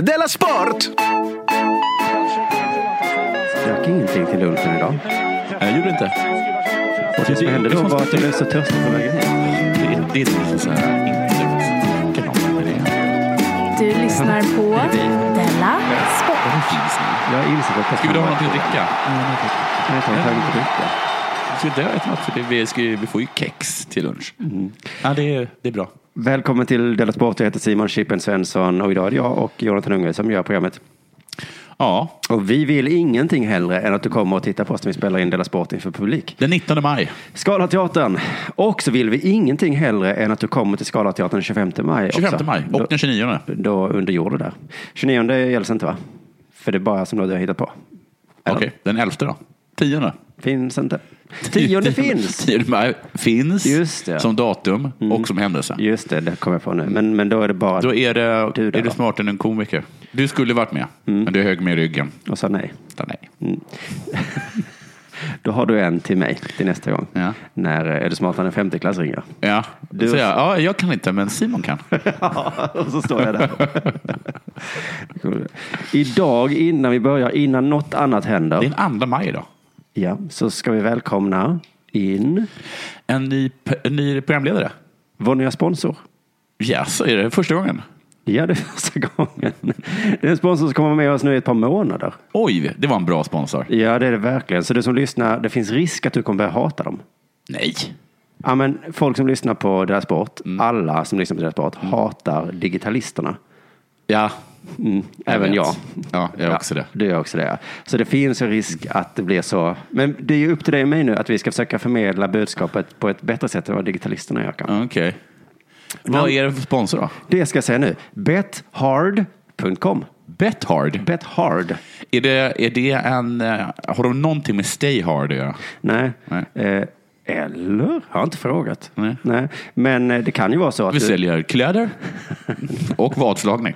Della Sport! drack ingenting till lunchen idag. Jag gjorde inte. Och det som hände då var att jag blev så törstig på vägen hem. Det, det är lite så här inte kanaler. Du lyssnar på Della Sport. Jag insåg att jag Ska vi ha någonting att dricka? Nej, jag tar inte dricka. Ska vi dö ett något? För det, vi, ska, ju- vi får ju kex till lunch. Mm. Ja, det, är- det är bra. Välkommen till Della Sport. Jag heter Simon Chippen Svensson och idag är det jag och Jonathan Unge som gör programmet. Ja, Och vi vill ingenting hellre än att du kommer och tittar på oss när vi spelar in Della Sport inför publik. den 19 maj. Scalateatern. Och så vill vi ingenting hellre än att du kommer till Scalateatern den 25 maj. också. 25 maj och Då- den 29. Då under jord och där. 29 gälls inte va? För det är bara som du har hittat på. Okej, den 11 då? 10. Finns inte. Tionde finns. 10 maj finns Just det. Mm. som datum och som händelse. Just det, det kommer jag på nu. Men, men då är det bara Då är, det, Du då? Mm. är du smartare än en komiker. Du skulle varit med, men du är hög med i ryggen. och sa nej. Så nej. Mm. Då har du en till mig till nästa gång. Ja. När eh, är du smartare än en femteklass ringer. Ja, Du- så jag, ja, jag kan inte, men Simon kan. Ja, och så står jag där. Idag innan vi börjar, innan något annat Det är händer, en 2 maj idag. ja, så ska vi välkomna in En ny, p- en ny programledare. vår nya sponsor. Yes, är det första gången? Ja, det är första gången. Det är en sponsor som kommer vara med oss nu i ett par månader. Oj, det var en bra sponsor. Ja, det är det verkligen. Så du som lyssnar, det finns risk att du kommer börja hata dem. Nej. Ja, men folk som lyssnar på deras sport, Mm. alla som lyssnar på deras sport, hatar digitalisterna. Ja, Mm, även vet. jag. Ja, jag också det. Du gör också det. ja. Så det finns en risk att det blir så. Men det är ju upp till dig och mig nu att vi ska försöka förmedla budskapet på ett bättre sätt än vad digitalisterna gör kanske. okej. Vad är det för sponsor då? Det ska jag säga nu. Bethard.com. Bethard. Bethard. Är det, är det en, eh, har de någonting med Stay Hard att göra? Nej. Nej. Eh, eller? Har jag inte frågat. Nej. Men eh, det kan ju vara så att Vi du- säljer kläder och vadslagning.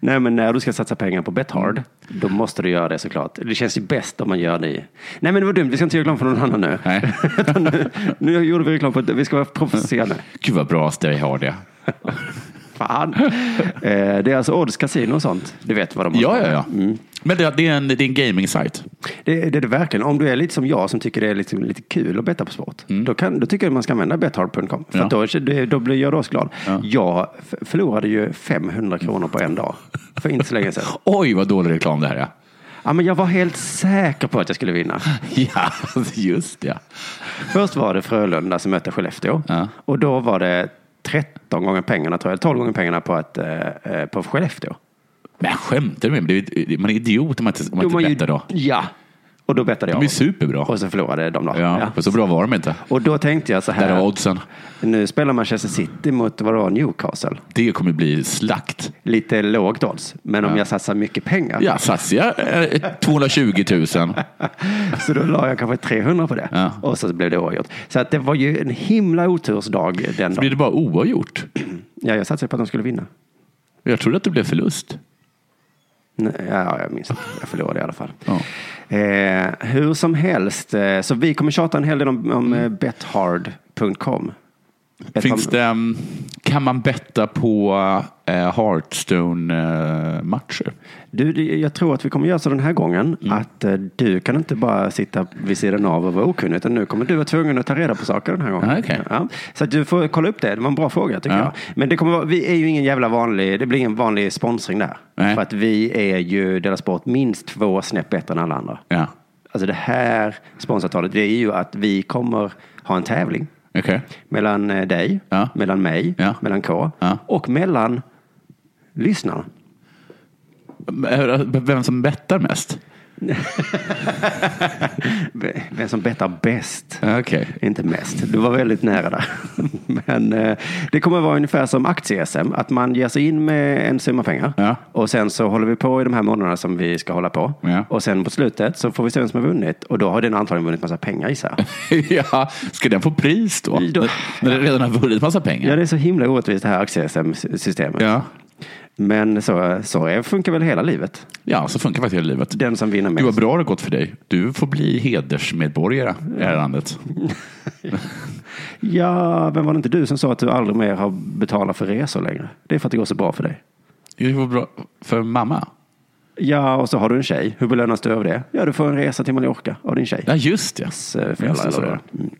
Nej, men när du ska satsa pengar på Bethard, Mm. då måste du göra det såklart. Det känns ju bäst om man gör det. i- Nej, men det var dumt. Vi ska inte göra reklam för någon annan nu. Nej. Utan nu, nu gjorde vi reklam för att vi ska vara proffsiga nu. Gud vad bra Stay Hard är. Fan. Eh, det är alltså odds, kasino och sånt. Du vet vad de har. Ja, ja, ja. Mm. Men det, det är en, det är en gaming-sajt. Det, det är det verkligen. Om du är lite som jag som tycker det är lite, lite kul att betta på sport. Då, kan, då tycker jag man ska använda bethard.com. För Mm. Ja. att då, är det- då blir jag oss glad. Jag f- förlorade ju 500 kronor på en dag. För inte så länge sedan. Oj, vad dålig reklam det här är. Ja, men jag var helt säker på att jag skulle vinna. Ja, just det. Först var det Frölunda som mötte Skellefteå. Ja. Och då var det 13 gånger pengarna, tror jag, 12 gånger pengarna på, att, eh, eh, på Skellefteå. Men jag skämtar med mig. Det är- Man är idiot om man inte, om man Jo, inte man ju- bettar då. Ja, och då bettade jag. De är superbra. Och så förlorade de då. Ja, men så bra var de inte. Och då tänkte jag så Där var här. oddsen. Nu spelar Manchester City mot vad det var, Newcastle. Det kommer bli slakt. Lite lågt odds, men om jag satsar mycket pengar. Ja, satsar jag eh, 220 000. Så då la jag kanske 300 på det. Ja. Och så blev det oavgjort. Så att det var ju en himla otursdag den Blir dagen. det bara oavgjort? Ja, jag satsade på att de skulle vinna. Jag trodde att det blev förlust. Nej, Ja, jag minns inte. Jag förlorade i alla fall. Ja. Eh, hur som helst, eh, så vi kommer tjata en hel del om, om eh, bethard.com. Bet- Finns det, mm, kan man betta på eh, Hearthstone-matcher? Du, det- jag tror att vi kommer göra så den här gången Mm. att eh, du kan inte bara sitta vid sidan av och vara okunnig utan nu kommer du vara tvungen att ta reda på saker den här gången. Ah, okej. Ja, så att du får kolla upp det. Det var en bra fråga tycker Ja. jag. Men det kommer vara, vi är ju ingen jävla vanlig, det blir ingen vanlig sponsring där. Nej. För att vi är ju Della Sport minst två snäpp bättre än alla andra. Ja, Alltså det här sponsoravtalet, det är ju att vi kommer ha en tävling okej. mellan eh, dig, Ja. mellan mig, Ja. mellan K Ja. och mellan lyssnarna. Men, eh, Vem som bettar mest? V- Vem som bettar bäst. Ja, Okej. Inte mest, du var väldigt nära där. Men eh, det kommer vara ungefär som aktie-SM, att man ger sig in med en summa pengar Ja. och sen så håller vi på i de här månaderna som vi ska hålla på. Ja. Och sen på slutet så får vi se vem som har vunnit och då har den antagligen vunnit massa pengar gissar jag. ja, ska den få pris då? Då- När- När den redan har vunnit massa pengar? Ja, det är så himla orättvist det här aktie-SM-systemet. Ja, Men så, så är- funkar väl hela livet. ja så funkar faktiskt hela livet. Den som vinner Gud vad mest. bra det har gått för dig. Du får bli hedersmedborgare i det Mm. här landet. Ja, men var det inte du som sa att du aldrig mer har betalat för resor längre? Det är för att det går så bra för dig. Det var bra för mamma. Ja, och så har du en tjej. Hur belönas du över det? Ja, du får en resa till Mallorca av din tjej. Ja, just det. eh, föräldrar Just det, eller så vad det var var. Mm.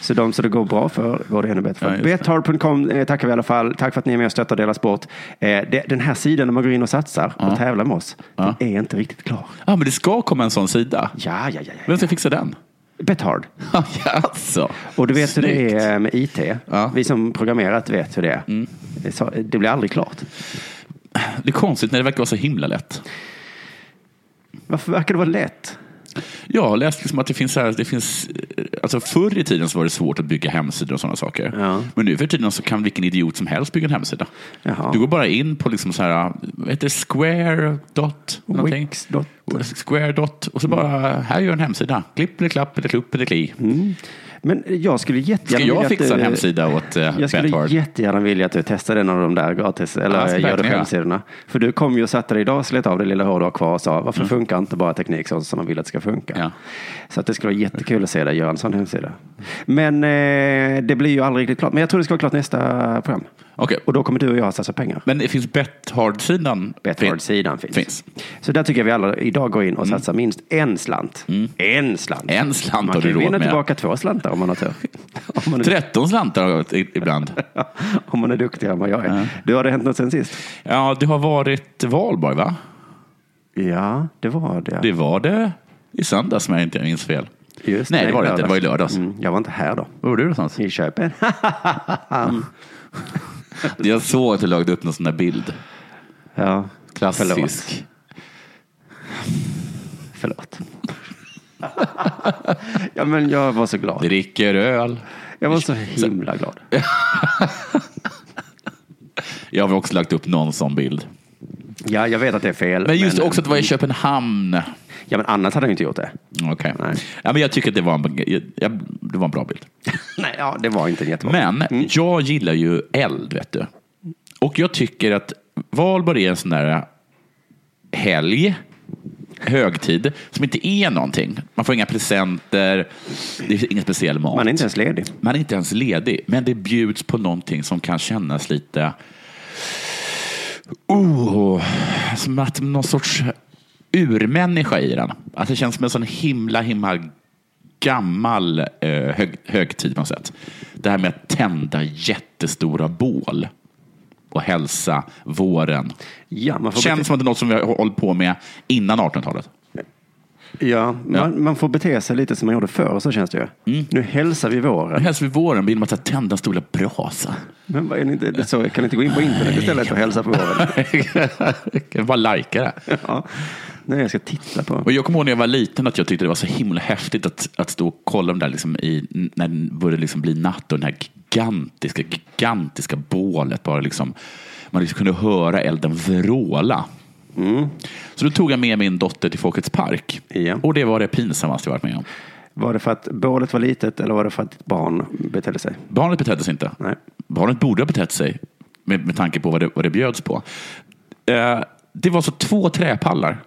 Så de som det går bra för går det ännu bättre Ja, för. just det. Betthard.com eh, tackar vi i alla fall. Tack för att ni är med och stöttar Dela Sport. Eh, det, den här sidan när man går in och satsar och tävlar med oss, Ja. den är inte riktigt klar. Ja, men det ska komma en sån sida. Ja, ja, ja. ja. Vem ska fixa den? Betthard. Ja, alltså. Och du vet hur Snyggt. det är med IT. Ja. Mm. Vi som programmerat vet hur det är. Så, det blir aldrig klart. Det är konstigt när det verkar vara så himla lätt. Varför verkar det vara lätt? Jag har läst liksom att det finns, så här, det finns eh, alltså förr i tiden så var det svårt att bygga hemsidor och sådana saker. Ja. Men nu för tiden så kan vilken idiot som helst bygga en hemsida. Jaha. Du går bara in på liksom så här, vad heter det, square dot någonting? Wix dot. Square dot och så bara, här gör en hemsida. Klipp eller klapp eller klupp eller kli. Men jag skulle Ska jättegärna Mm, jag vilja att fixa en du- hemsida åt eh, Jag skulle Bethard? jättegärna vilja att du testar en av de där gratis Ja, jag eller ska gör du verkligen göra. hemsidorna. För du kom ju och satte dig idag och slet av det lilla hår du har kvar och sa varför funkar inte bara teknik så som man vill att det ska funka. Mm. Ja. Så att det skulle vara jättekul att se dig göra en sån hemsida. Men eh, det blir ju aldrig riktigt klart. Men jag tror det ska vara klart nästa program. Okej, Och då kommer du och jag att satsa pengar. men det finns Bethard-sidan? Betthard-sidan finns. Finns. Mm. Så där tycker jag vi alla idag går in och satsar minst en slant. En slant. En slant man har kan du ju råd vinna med. tillbaka två slantar om man har tur. Om man, är, 13 slantar har jag gått i- ibland. om man är duktigare än vad jag är. Du, har det hänt något sen sist? Ja, det har varit valborg va? Ja, det var det. Det var det i söndags om jag inte minns fel. Just Nej, det var det inte. Det var i lördags. Mm, jag var inte här då. Var var du någonstans? I Köpen. Jag såg att du lagt upp någon sån där bild. ja, Klassisk. förlåt. ja, men jag var så glad. Dricker öl. Jag var så himla glad. Jag har också lagt upp någon sån bild. Ja, jag vet att det är fel. Men just också att det var i Köpenhamn. Ja, men annars hade jag inte gjort det. Okej. Nej. Ja, men jag tycker att det var en, jag, det var en bra bild. Nej, ja, det var inte en jättebra. Men jag gillar ju eld, vet du. Och jag tycker att valborg är en sån där äh, helg, högtid, som inte är någonting. Man får inga presenter, det är ingen speciell mat. Man är inte ens ledig. Man är inte ens ledig, men det bjuds på någonting som kan kännas lite... Oh, som att någon sorts urmänniska i den. Att det känns som en sån himla, himla gammal eh, hög, högtid på något sätt. Det här med att tända jättestora bål och hälsa våren. Ja, man får, Känns bete- som att det är något som vi har hållit på med innan 1800-talet. ja, man, man får bete sig lite som man gjorde förr, så känns det ju. Mm. Nu hälsar vi Nu våren. hälsar vi våren genom att tända en stor brasa. Men vad är det inte, det är så, kan ni inte gå in på internet istället och hälsa på våren? Jag bara likar det. Ja. Nej, jag ska titta på. Och jag kommer ihåg när jag var liten att jag tyckte det var så himla häftigt att, att stå och kolla om där liksom i, när det började liksom bli natt och den här gigantiska, gigantiska bålet bara liksom, man liksom kunde höra elden vråla. Så då tog jag med min dotter till Folkets park. Ja. Och det var det pinsammaste jag varit med om. Var det för att bålet var litet eller var det för att ditt barn betedde sig? Barnet betedde sig inte. Nej. Barnet borde ha betett sig med, med tanke på vad det, vad det bjöds på. Eh, det var så två träpallar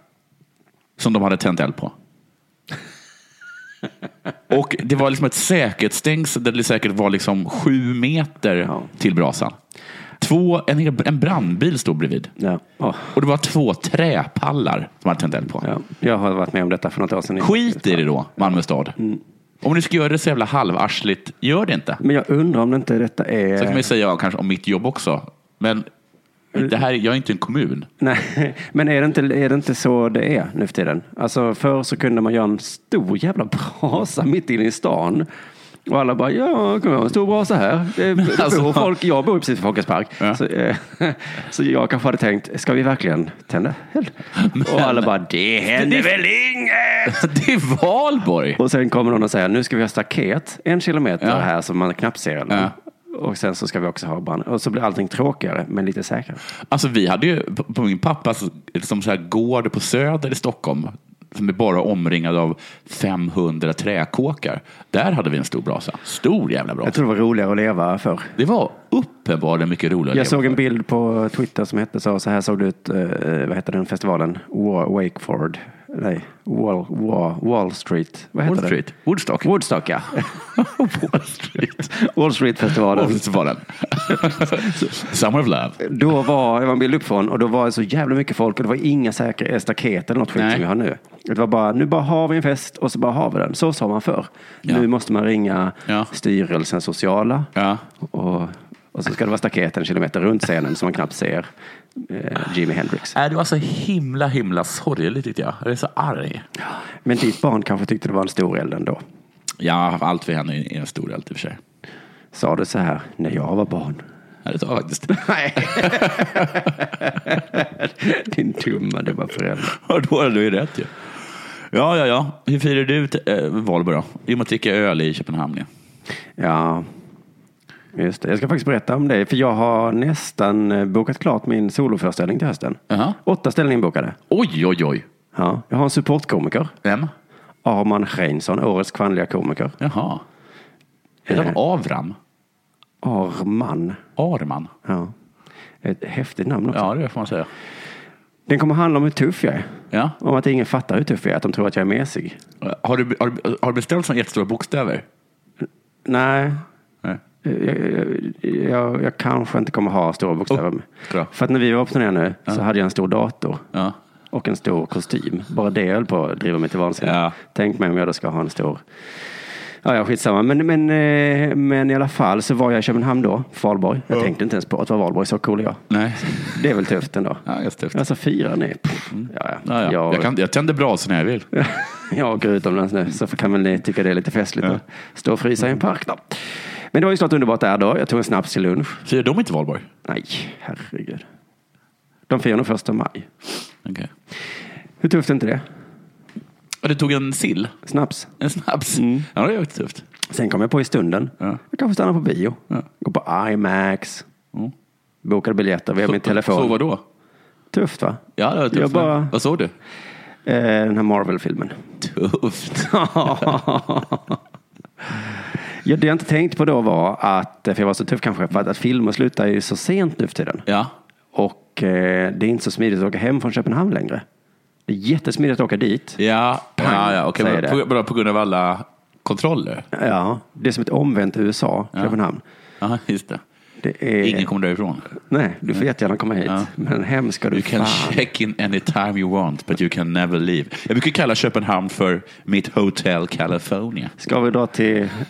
som de hade tänt eld på. Och det var liksom ett säkerhetsstängsel där det säkert var liksom sju meter Ja. till brasan. Två, en, hel- en brandbil stod bredvid. Ja. Åh, Och det var två träpallar som hade tänt eld på. ja. Jag har varit med om detta för något år sedan. Skit i det då, Malmö stad. Mm. Om du ska göra det så jävla halvarsligt, gör det inte. Men jag undrar om det inte detta är... Så kan man ju säga ja, kanske om mitt jobb också. Men det här, jag är inte en kommun. Nej, men är det, inte, är det inte så det är nu för tiden? Alltså förr så kunde man göra en stor jävla brasa mitt inne i stan. Och alla bara, ja, kom ihåg, en stor brasa här. Det, det alltså- bor folk, jag bor ju precis vid Folkets park. Ja. Så, eh, så jag kanske hade tänkt, ska vi verkligen tända eld? Och alla bara, det händer Det- väl inget! Det är valborg! Och sen kommer någon och säger nu ska vi ha staket en kilometer Ja. här som man knappt ser. den. Ja. Och sen så ska vi också ha brand. Och så blir allting tråkigare men lite säkrare. Alltså vi hade ju på- på min pappas liksom så här, gård på Söder i Stockholm som är bara omringad av 500 träkåkar. Där hade vi en stor brasa. Stor jävla brasa. Jag tror det var roligare att leva förr. Det var uppenbarligen mycket roligare. Jag såg en bild på Twitter som hette så, så här såg det ut, eh, vad heter den festivalen? Wa- Wakeford. nej, Wall, Wall, Wall Street. Vad heter Wall det? Street. Woodstock. Woodstock, ja. Wall Street. Wall Street-festivalen. Och så var den. Summer of Love. Då var, det var en bild uppifrån och då var det så jävla mycket folk och det var inga säkra staket eller något skit Nej. som vi har nu. Det var bara, nu bara har vi en fest och så bara har vi den. Så sa man förr. Ja. Nu måste man ringa Ja. styrelsen sociala Ja. och, och så ska det vara staket en kilometer runt scenen som man knappt ser eh, Jimi Hendrix. Äh, det var så himla, himla sorgligt tyckte jag. Jag är så arg. Men ditt barn kanske tyckte det var en stor eld ändå. Ja, allt för henne är en stor eld i och för sig. Sa du så här, när jag var barn? Ja, det var faktiskt. Nej. Din dumma dumma förälder. Ja, då har du ju rätt ju. Ja, ja, ja. Hur firar du ut äh, Valborg då? Jo, man dricker öl i Köpenhamn. Ja. Ja, just det. Jag ska faktiskt berätta om det. För jag har nästan eh, bokat klart min soloföreställning till hösten. Jaha. Åtta ställningar bokade. Oj, oj, oj. Ja. Jag har en supportkomiker. Vem? Arman Reinsson, årets kvinnliga komiker. Jaha. Heter han Avram? Arman. Arman? Ja. Ett häftigt namn också. Ja, det får man säga. Den kommer handla om hur tuff jag är. Ja. Om att ingen fattar hur tuff jag är, att de tror att jag är mesig. Har du, har, du- har du beställt sådana jättestora bokstäver? Nej, Nej. Jag, jag- Eh, jag, jag kanske inte kommer ha stora bokstäver. Oh, bra. För att när vi var på turné nu så hade jag en stor dator Ja. och en stor kostym. Bara det höll på att driva mig till vansinne. Ja. Tänk mig om jag då ska ha en stor... Ja, ja skitsamma. Men, men, eh, men i alla fall så var jag i Köpenhamn då, Valborg. Jag tänkte inte ens på att det var Valborg, så cool är jag. Nej. Det är väl tufft ändå. Ja, just det. Alltså fyra, nej. Pff, Ja, ja. Ja, ja. Jag, Jag, kan, jag tänder brasan när jag vill. jag åker utomlands nu så kan väl ni tycka det är lite festligt att stå och frysa i en park då. Men det var ju såklart underbart där då. Jag tog en snaps till lunch. Firar de inte Valborg? Nej, herregud. De firar nog första maj. Okay. Hur tufft är inte det? Och du tog en sill? Snaps. En snaps? Mm. Ja, det är också tufft. Sen kom jag på i stunden. Ja. Jag kanske stannar på bio. Ja. Går på IMAX. Mm. Bokar biljetter via min telefon. Så vad då? Tufft va? Ja, det var tufft. Jag bara- Vad såg du? Eh, den här Marvel-filmen. Tufft. Ja, det jag inte tänkt på då var att, eh, för jag var så tuff kanske, för att, att filmer slutar ju så sent nu för tiden. Ja. Och eh, det är inte så smidigt att åka hem från Köpenhamn längre. Det är jättesmidigt att åka dit. Ja, ja, ja. okej. säger men det. På, bara på grund av alla kontroller? Ja, det är som ett omvänt USA, Köpenhamn. Ja, just det. Det är... Ingen kommer därifrån. Nej, du får jättegärna komma hit. Ja. Men hem ska du You can fan. check in anytime you want, but you can never leave. Jag brukar kalla Köpenhamn för mitt Hotel California. Ska vi dra till...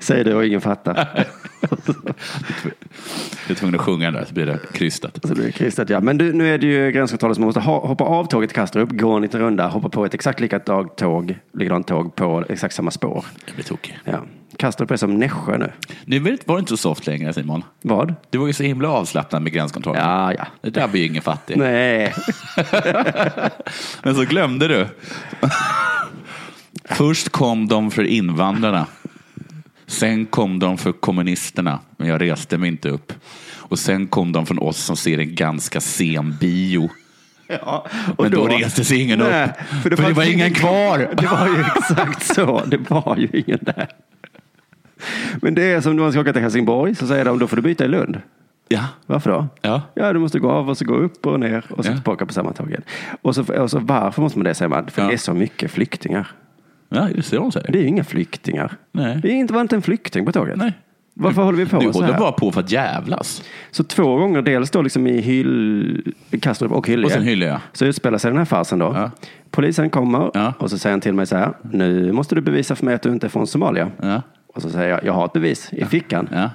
Säger du och ingen fattar. Jag är tvungen att sjunga där, så blir det krystat. Så blir det kristet, ja. Men du, nu är det ju gränskontroller som man måste ha, hoppa av tåget till Kastrup, gå en liten runda, hoppa på ett exakt likadant tåg, likadant tåg på exakt samma spår. Jag blir tokig. Ja. Kastrup är som Nässjö nu. Nu var det- var det inte så soft längre, Simon. Vad? Du var ju så himla avslappnad med gränskontrollen. Ja, ja. Det där blir ju ingen fattig. Nej. Men så glömde du. Först kom de för invandrarna. Sen kom de för kommunisterna, men jag reste mig inte upp. Och sen kom de från oss som ser en ganska sen bio. Ja, Men då reste sig ingen Nej, upp. För det, var fanns ingen kvar. Det var ju exakt så. Det var ju ingen där. Men det är som när man ska åka till Helsingborg så säger de då får du byta i Lund. Ja, Varför då? Ja. ja, du måste gå av och så gå upp och ner och så Ja. tillbaka på samma tåg igen. Och så, och så varför måste man det säger man? För Ja. det är så mycket flyktingar. ja det ser de Det säger. är ju inga flyktingar. Nej. Det är inte, var inte en flykting på tåget. Nej. Varför håller vi på Du så håller här? bara på för att jävlas. Så två gånger, dels då liksom i hyll, Kastrup och Hyllie. Och sen Hyllie, ja. Så utspelar sig den här farsen då. Ja. Polisen kommer Ja. och så säger han till mig så här. Nu måste du bevisa för mig att du inte är från Somalia. Ja. Och så säger jag, jag har ett bevis i fickan. Ja. Mm.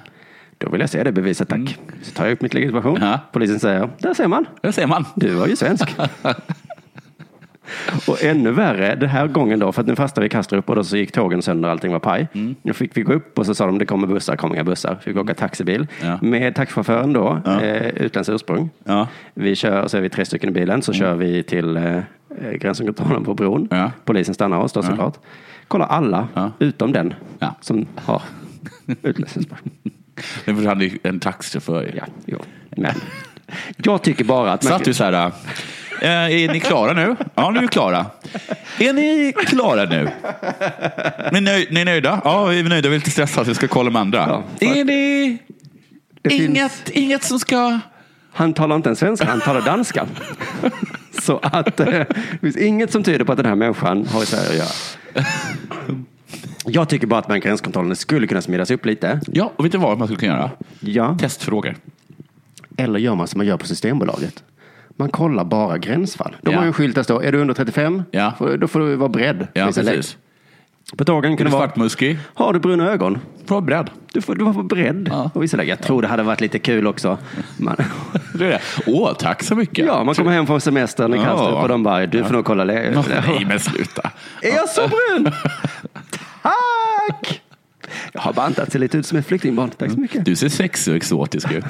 Då vill jag se det beviset tack. Så tar jag upp mitt legitimation. Ja. Polisen säger, där ser man. Där ser man. Du var ju svensk. och ännu värre, den här gången då, för att nu fastnade vi i Kastrup och då så gick tågen sönder och allting var paj. Mm. Då fick vi gå upp och så sa de, det kommer bussar, kommer inga bussar. Fick åka taxibil Ja. med taxichauffören då, eh, utländskt ursprung. Ja. Mm. Vi kör, och så är vi tre stycken i bilen, så kör vi till eh, eh, gränskontrollen på bron. Ja. Polisen stannar oss då såklart. Kollar alla, Ja. utom den Ja. som har utländskt ursprung. Det var han ju en taxichaufför. Ja, jo. Men. Jag tycker bara att... man- Satt du så här. eh, Är ni klara nu? Ja, nu är vi klara. Är ni klara nu? Ni är, nöj, ni är nöjda? Ja, vi är nöjda. Vi är lite stressade. så Vi ska kolla med andra. Ja, är ni... Det finns- Inget, inget som ska... Han talar inte ens svenska, han talar danska. Så att eh, det finns inget som tyder på att den här människan har i Sverige att göra. Jag tycker bara att de här gränskontrollerna skulle kunna smidas upp lite. Ja, och vet du vad man skulle kunna göra? Ja. Testfrågor. Eller gör man som man gör på Systembolaget. Man kollar bara gränsfall. De Ja. har ju en skylt där det står, är du under 35? Ja. Får- Då får du vara beredd. Ja, Finns en länk. precis. På tågen Är kan du det vara, svartmuskig? har du bruna ögon? Bra bredd. Du får, du får vara beredd. Ja. Och vissa lägen. Jag tror det hade varit lite kul också. Man, Det är det. Åh, tack så mycket. ja, man kommer hem från semestern i Ja. Kastrup och de bara, du får nog kolla läget. Nå, Nej, men sluta. Är jag så brun? Tack! Jag har bantat, ser lite ut som ett flyktingbarn. Tack så mycket. Du ser sexig och exotisk ut.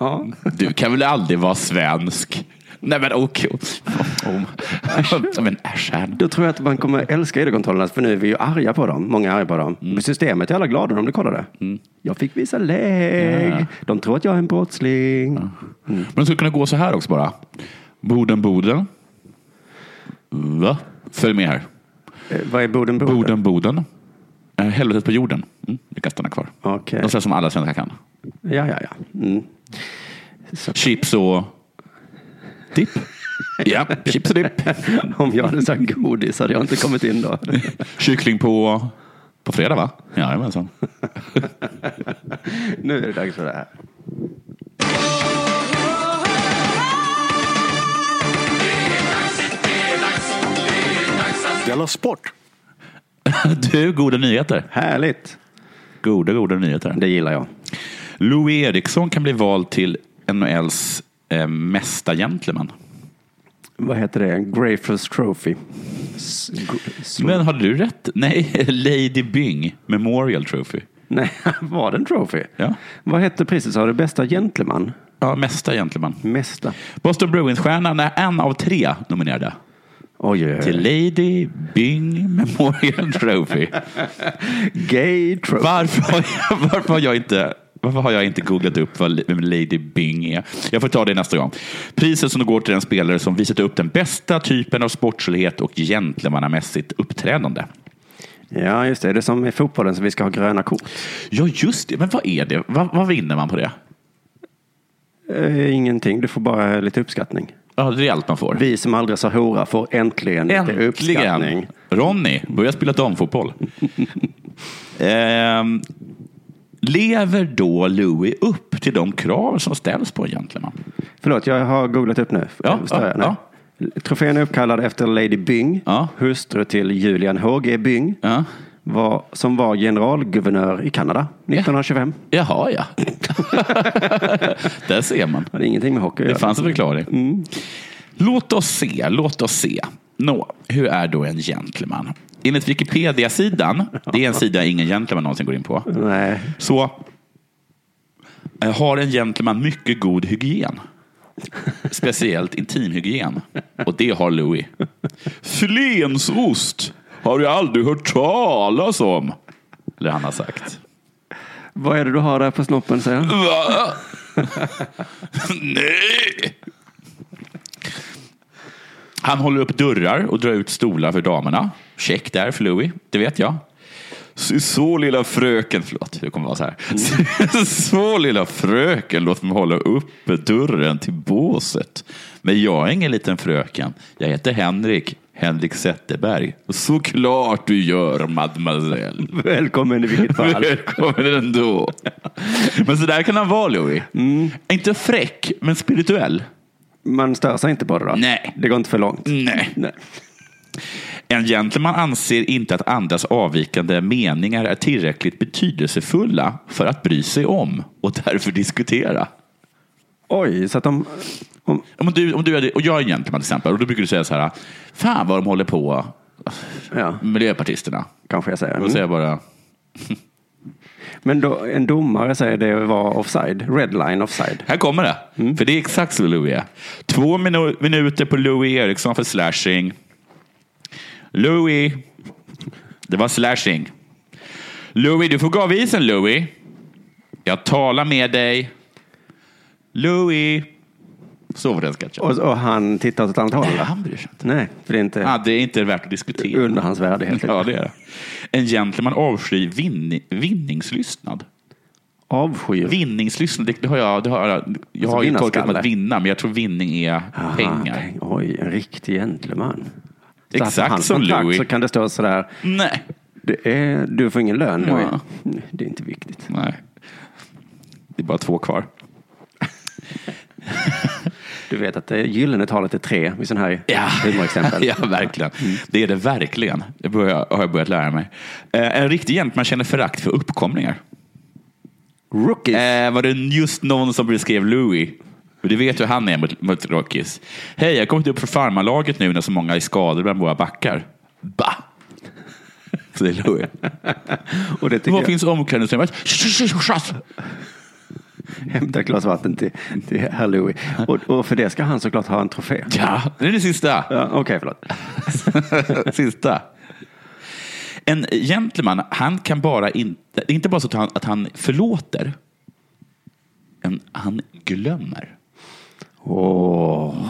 Ja. Du kan väl aldrig vara svensk? Nej men okej. Oh, oh. Men äsch här. Då tror jag att man kommer älska id-kontrollerna, för nu är vi ju arga på dem. Många är arga på dem. Mm. Men Systemet är alla glada när de blir kollade. Jag fick visa lägg. Ja. De tror att jag är en brottsling. Men de skulle kunna gå så här också bara. Boden, Boden. Va? Följ med här. Eh, vad är Boden Boden? Boden, Boden. Eh, Helvetet på jorden. Mm, vi kan stanna kvar. Okej. De säger som alla svenskar kan. Ja, ja, ja. Mm. Chips och dipp. Ja, chips och dipp. Om jag hade sagt godis hade jag inte kommit in då. Kyckling på, på fredag va? Jajamensan. Nu är det dags för det här. Della Sport! Du, goda nyheter. Härligt. Goda, goda nyheter. Det gillar jag. Louis Eriksson kan bli vald till NHLs eh, mesta gentleman. Vad heter det? Grafers Trophy. S- gr- s- Men hade du rätt? Nej, Lady Byng Memorial Trophy. Nej, var det en trophy? Ja. Vad hette priset? Sa du bästa gentleman? Ja, mesta gentleman. Mesta. Boston Bruins-stjärnan är en av tre nominerade Oj, oj, oj. till Lady Byng Memorial Trophy. Gay trophy. Varför har jag, varför har jag inte varför har jag inte googlat upp vad li- vem Lady Byng är? Jag får ta det nästa gång. Priset som går till den spelare som visat upp den bästa typen av sportslighet och gentlemannamässigt uppträdande. Ja, just det. Det är som i fotbollen så vi ska ha gröna kort. Ja, just det. Men vad är det? Vad, vad vinner man på det? Eh, ingenting. Du får bara lite uppskattning. Ja, det är allt man får. Vi som aldrig sa hora får äntligen, lite Äntligen! uppskattning. Ronny, börja spela damfotboll. Ehm, lever då Louis upp till de krav som ställs på en gentleman? Förlåt, jag har googlat upp nu. Ja, Står jag? ja, Nej. Trofén är uppkallad efter Lady Byng, Ja. hustru till Julian H.G. Byng, Ja. var, som var generalguvernör i Kanada 1925. Jaha, ja. Där ser man. Det hade ingenting med hockey att Det göra. fanns en förklaring. Låt oss se, låt oss se. Nå, hur är då en gentleman? Enligt Wikipedia-sidan, det är en sida ingen gentleman någonsin går in på, Nej, så eh, har en gentleman mycket god hygien. Speciellt intimhygien. Och det har Louis. Flensost har jag aldrig hört talas om. Eller han har sagt. vad är det du har där på snoppen? Säger han. Va? Nej! Han håller upp dörrar och drar ut stolar för damerna. Check där för Louis, det vet jag. Så, så lilla fröken, förlåt, det kommer vara så här. Så, så lilla fröken, låt mig hålla uppe dörren till båset. Men jag är ingen liten fröken. Jag heter Henrik, Henrik Zetterberg. Såklart du gör, mademoiselle. Välkommen i vilket fall. Välkommen ändå. Men så där kan han vara Louis. Inte fräck, men spirituell. Man stör sig inte på det då? Nej. Det går inte för långt? Nej. Nej. En gentleman anser inte att andras avvikande meningar är tillräckligt betydelsefulla för att bry sig om och därför diskutera. Oj, så att de... Om, Om du, om du är, och jag är en gentleman till exempel och då brukar du säga så här, fan vad de håller på, ja, miljöpartisterna. kanske jag säger. Och då säger jag bara, Men då, en domare säger det var offside, red line offside. Här kommer det. För det är exakt så Louis är. Två minu- minuter på Louis Eriksson för slashing. Louis. Det var slashing. Louis, du får gå av isen Louis. Jag talar med dig. Louis. Så var den sketchen. Och, och han tittar åt ett annat håll? Nej, va? han bryr sig inte. Nej, för det är inte Ah, det är inte värt att diskutera. under hans värdighet. Ja, det är det. En gentleman avskyr vinn- vinningslystnad. avskyr. Vinningslyssnande, det- det har jag, det har jag, jag har ju tolkat som vinnarskalle. att Alltså, vinna, men jag tror vinning är Aha, pengar. peng- Oj, en riktig gentleman. Så Exakt här på hans som kontrakt Louis. Så kan det stå sådär. Nej. Det är, du får ingen lön Louis. Ja. Det är inte viktigt. Nej. Det är bara två kvar. Du vet att det gyllene talet är tre i sådana här humorexempel. ja verkligen. Mm. Det är det verkligen. Det börjar, har jag börjat lära mig. Eh, en riktig gentleman känner förakt för uppkomlingar. Rookies. Eh, var det just någon som beskrev Louis? Du vet hur han är mot, mot Rockies. Hej, jag har kommit upp för farmarlaget nu när så många är skadade bland våra backar. Bah! Säger Louis. och det tycker Var jag. finns omklädningsrummet? Tjus-tjus-tjus. Hämta ett glas vatten till, till herr Louis. Och, och för det ska han såklart ha en trofé. Ja, det är det sista. Ja, Okej, förlåt. Sista. En gentleman, han kan bara inte... Det är inte bara så att han, att han förlåter. Men han glömmer. Åh.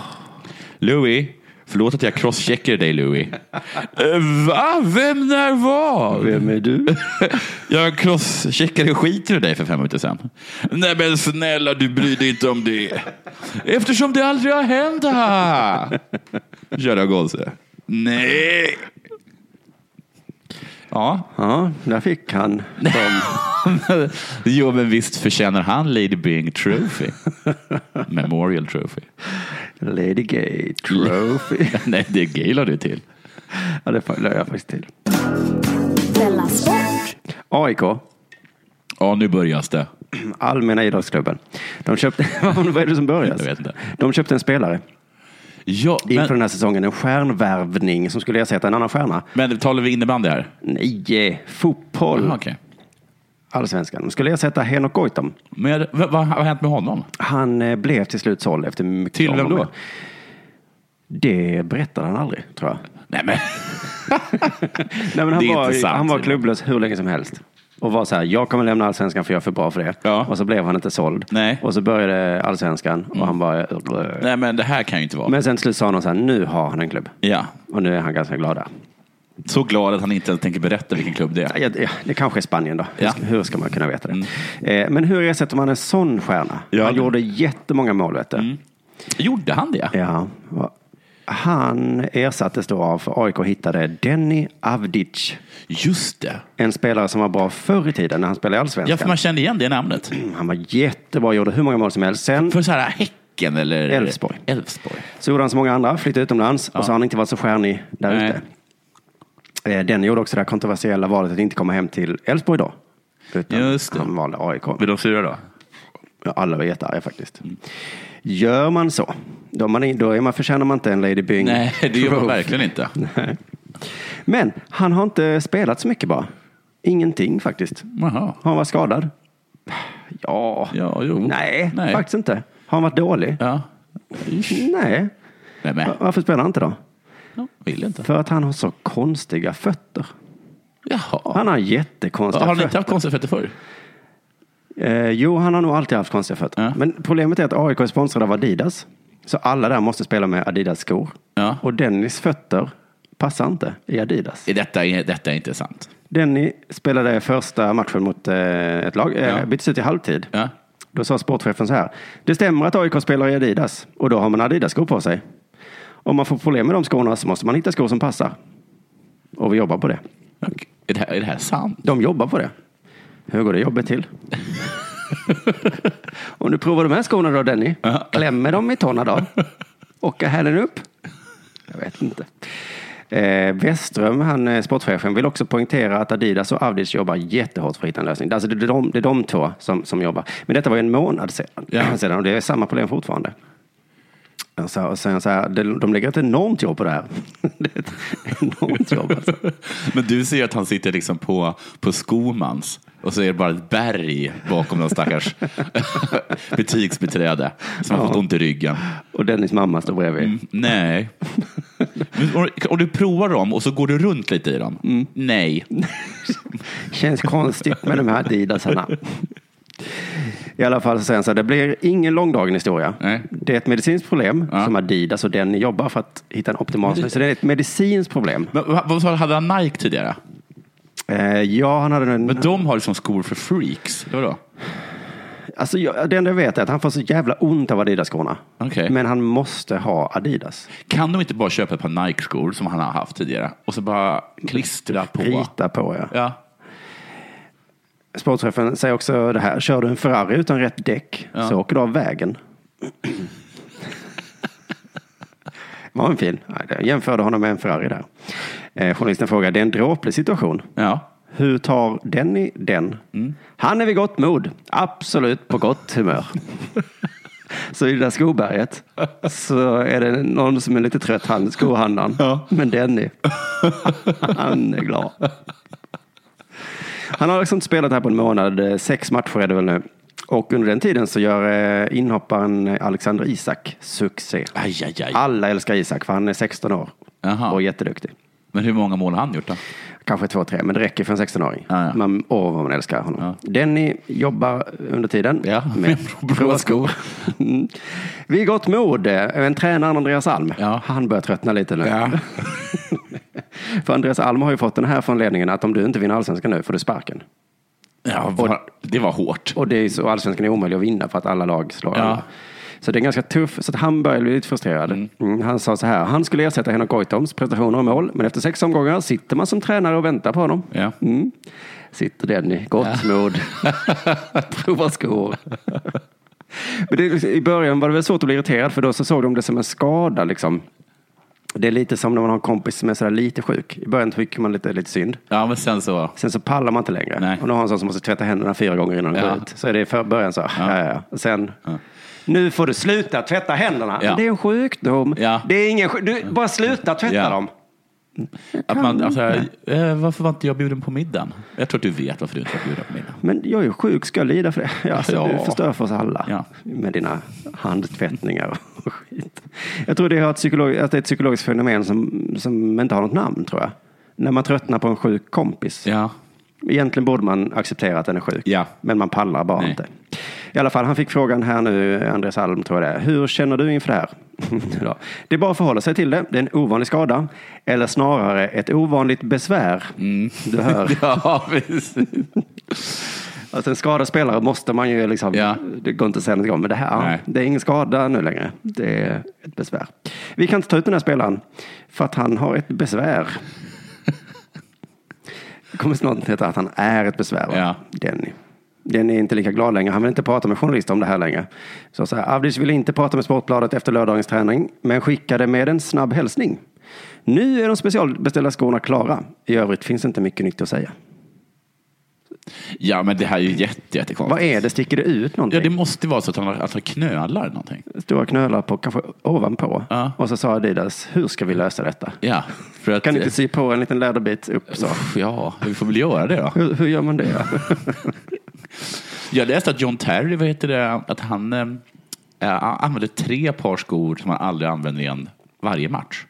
Louis, förlåt att jag crosscheckade dig Louis. Eh, Va? Vem när var? Vem är du? Jag crosscheckade skiten ur dig för fem minuter sedan. Nej men snälla, du bryr dig inte om det. Eftersom det aldrig har hänt här. Köra Golse. Nej. Ja, Ja, där fick han. jo, men visst förtjänar han Lady Bing Trophy. Memorial Trophy. Lady Gay Trophy. Nej, det gillar du till. Ja, det lade jag faktiskt till. Della Sport. AIK, Ja, nu börjar det. Allmänna idrottsklubben. De köpte, vad är det som börjar? Jag vet inte. De köpte en spelare Ja, inför men, den här säsongen. En stjärnvärvning som skulle ersätta en annan stjärna. men talar vi innebandy här? Nej, fotboll. Jaha, okej. Allsvenskan. De skulle ersätta Henok Goitom. Men vad, vad har hänt med honom? Han eh, blev till slut såld efter mycket Till om vem och men. då? Det berättade han aldrig, tror jag. Nej, men Nej, men han, Det är inte var, sant, han var Simon. klubblös hur länge som helst. Och var så här, jag kommer lämna allsvenskan för jag är för bra för det. Ja. Och så blev han inte såld. Nej. Mm. Och så började allsvenskan och han bara... Nej, men det här kan ju inte vara. Men sen till slut sa någon så här, nu har han en klubb. Ja, Och nu är han ganska glad där. så glad att han inte ens tänker berätta vilken klubb det är. Ja, ja, det kanske är Spanien då. Hur Ja. Mm. ska- Hur ska man kunna veta det? Eh, men hur ersätter man en sån stjärna? Ja, han det- Mm. gjorde jättemånga mål, vet du. Gjorde han det? Ja. och Han ersattes då av, för AIK hittade Denny Avdic. Just det. En spelare som var bra förr i tiden när han spelade i Ja, för Allsvenskan. man kände igen det namnet. Han var jättebra, gjorde hur många mål som helst. Sen För så här Häcken eller? Elfsborg. Elfsborg. så gjorde han som många andra, flyttade utomlands och så har han inte varit så stjärnig där Nej. ute. Eh, Den gjorde också det här kontroversiella valet att inte komma hem till Elfsborg då. Utan Just det. han valde AIK. Vill Mm. de fyra då? Ja, Alla var jättearga faktiskt. Gör man så, då, är man, då är man, förtjänar man inte en Lady Byng. Nej, det gör man Trophy. verkligen inte. Men han har inte spelat så mycket bara. Ingenting faktiskt. Jaha. Har han varit skadad? Ja. Ja, jo. Nej, Nej. faktiskt inte. Har han varit dålig? Ja. Nej. Nej, men. Va- Varför spelar han inte då? Ja, Vill inte. För att han har så konstiga fötter. Jaha. Han har jättekonstiga Har ni inte fötter. haft konstiga fötter förr? Eh, jo, han har nog alltid haft konstiga fötter. Ja. Men problemet är att AIK är sponsrad av Adidas. Så alla där måste spela med Adidas-skor. Ja. Och Dennis fötter passar inte i Adidas. Är Detta, är- detta är inte sant. Denny spelade första matchen mot eh, ett lag, eh, Ja. byttes ut i halvtid. Ja. Då sa sportchefen så här. Det stämmer att AIK spelar i Adidas och då har man Adidas-skor på sig. Om man får problem med de skorna så måste man hitta skor som passar. Och vi jobbar på det. Okej. Är, det här, är det här sant? De jobbar på det. Hur går det jobbet till? Om du provar de här skorna då Denny. Klämmer dem i tårna då? Åka hälen upp? Jag vet inte. Eh, Westström, han eh, sportchefen, vill också poängtera att Adidas och Avdic jobbar jättehårt för att hitta en lösning. Alltså det är de, det är de två som, som jobbar. Men detta var ju en månad sedan, Ja. sedan och det är samma problem fortfarande. Alltså, och sen så här, de, de lägger ett enormt jobb på det här. det är ett enormt jobb. Alltså. Men du ser att han sitter liksom på, på Skomans och så är det bara ett berg bakom någon stackars butiksbiträde som har fått ont i ryggen. Och Dennis mamma står bredvid. Nej. Men Om, om du provar dem och så går du runt lite i dem? Nej. Känns konstigt med de här Adidasarna. I alla fall så säger han så här, det blir ingen långdragen historia. Nej. Det är ett medicinskt problem Ja. som Adidas och den jobbar för att hitta en optimal lösning. Så det är ett medicinskt problem. Men, vad vad sa du, hade han Nike tidigare? Eh, ja, han hade en... Men de har liksom skor för freaks. Eller vadå? Alltså, jag, det enda jag vet är att han får så jävla ont av Adidas-skorna. Okej. Men han måste ha Adidas. Kan de inte bara köpa ett par Nike-skor som han har haft tidigare och så bara klistra på? Rita på, ja. Ja. Sportchefen säger också det här. Kör du en Ferrari utan rätt däck så åker du av vägen. Var en fin. Nej, Jag jämförde honom med en Ferrari där. Eh, journalisten frågar, det är en dråplig situation. ja. Hur tar Denny den? Mm. Han är vid gott mod. Absolut på gott humör. så i det där skoberget så är det någon som är lite trött, han, skohandlaren. Ja. Men Denny, han är glad. Han har liksom inte spelat här på en månad. Eh, Sex matcher är det väl nu. Och under den tiden så gör eh, inhopparen Alexander Isak succé. Aj, aj, aj. Alla älskar Isak för han är 16 år Jaha. och jätteduktig. Men hur många mål har han gjort då? Kanske två, tre, men det räcker för en 16-åring. Ja, ja. Man, åh, vad man älskar honom. Denny jobbar under tiden Ja, med bra skor. Mm. Vi är gott mod. eh, En tränare, Andreas Alm, Ja. han börjar tröttna lite nu. För Andreas Alm har ju fått den här från ledningen att om du inte vinner allsvenskan nu får du sparken. Ja, var, det var hårt. Och det är ju så, allsvenskan är omöjlig att vinna för att alla lag slår Ja. alla. Så det är ganska tuff, så att han börjar bli lite frustrerad. Mm, han sa så här, han skulle ersätta Henok Goitoms prestationer och mål, men efter sex omgångar sitter man som tränare och väntar på honom. Ja. Mm. Sitter den i gott mod. Provar skor. Men det, I början var det väl svårt att bli irriterad för då så såg de det som en skada. Liksom. Det är lite som när man har en kompis som är sådär lite sjuk. I början tycker man lite, lite synd. Ja, men sen så. Sen så pallar man inte längre. Nej. Och nu har en sån som måste tvätta händerna fyra gånger innan den Ja. går ut. Så är det i för- början så. Ja. Ja, ja. Och Sen, nu får du sluta tvätta händerna. Ja. Det är en sjukdom. Ja. Det är ingen sjuk- du, bara sluta tvätta Ja. dem. Att man, alltså, eh, varför var inte jag bjuden på middagen? Jag tror att du vet varför du inte var bjuden på middagen. Men jag är ju sjuk, ska jag lida för det? Ja, alltså, Ja. Du förstör för oss alla Ja. med dina handtvättningar och skit. Jag tror det är ett, psykolog, att det är ett psykologiskt fenomen som, som inte har något namn, tror jag. När man tröttnar på en sjuk kompis. Ja. Egentligen borde man acceptera att den är sjuk, Ja. men man pallar bara Nej. inte. I alla fall, han fick frågan här nu, Andreas Alm tror jag det är. Hur känner du inför det här? Ja. det är bara att förhålla sig till det. Det är en ovanlig skada, eller snarare ett ovanligt besvär. Mm. Du hör. Ja, precis. Alltså en skadad spelare måste man ju liksom, Ja. det går inte att säga något om, men det här, Nej. det är ingen skada nu längre. Det är ett besvär. Vi kan inte ta ut den här spelaren för att han har ett besvär. Det kommer snart att heta att han är ett besvär. va? Ja. Denny. Denny är inte lika glad längre. Han vill inte prata med journalister om det här längre. Så, så här, Avdic ville inte prata med Sportbladet efter lördagens träning, men skickade med en snabb hälsning. Nu är de specialbeställda skorna klara. I övrigt finns inte mycket nytt att säga. ja, men det här är ju jätte, Vad jättekonstigt. är det? Sticker det ut någonting? Ja, det måste ju vara så att han, har- att han knölar någonting. stora knölar på, kanske ovanpå. Ja. Och så sa Adidas, hur ska vi lösa detta? Ja, för att... Kan ni inte sy på en liten läderbit upp så? Ja, vi får väl göra det då. Hur, hur gör man det? Jag läste att John Terry, vad heter det, att han eh, eh, använde tre par skor som han aldrig använder igen varje match.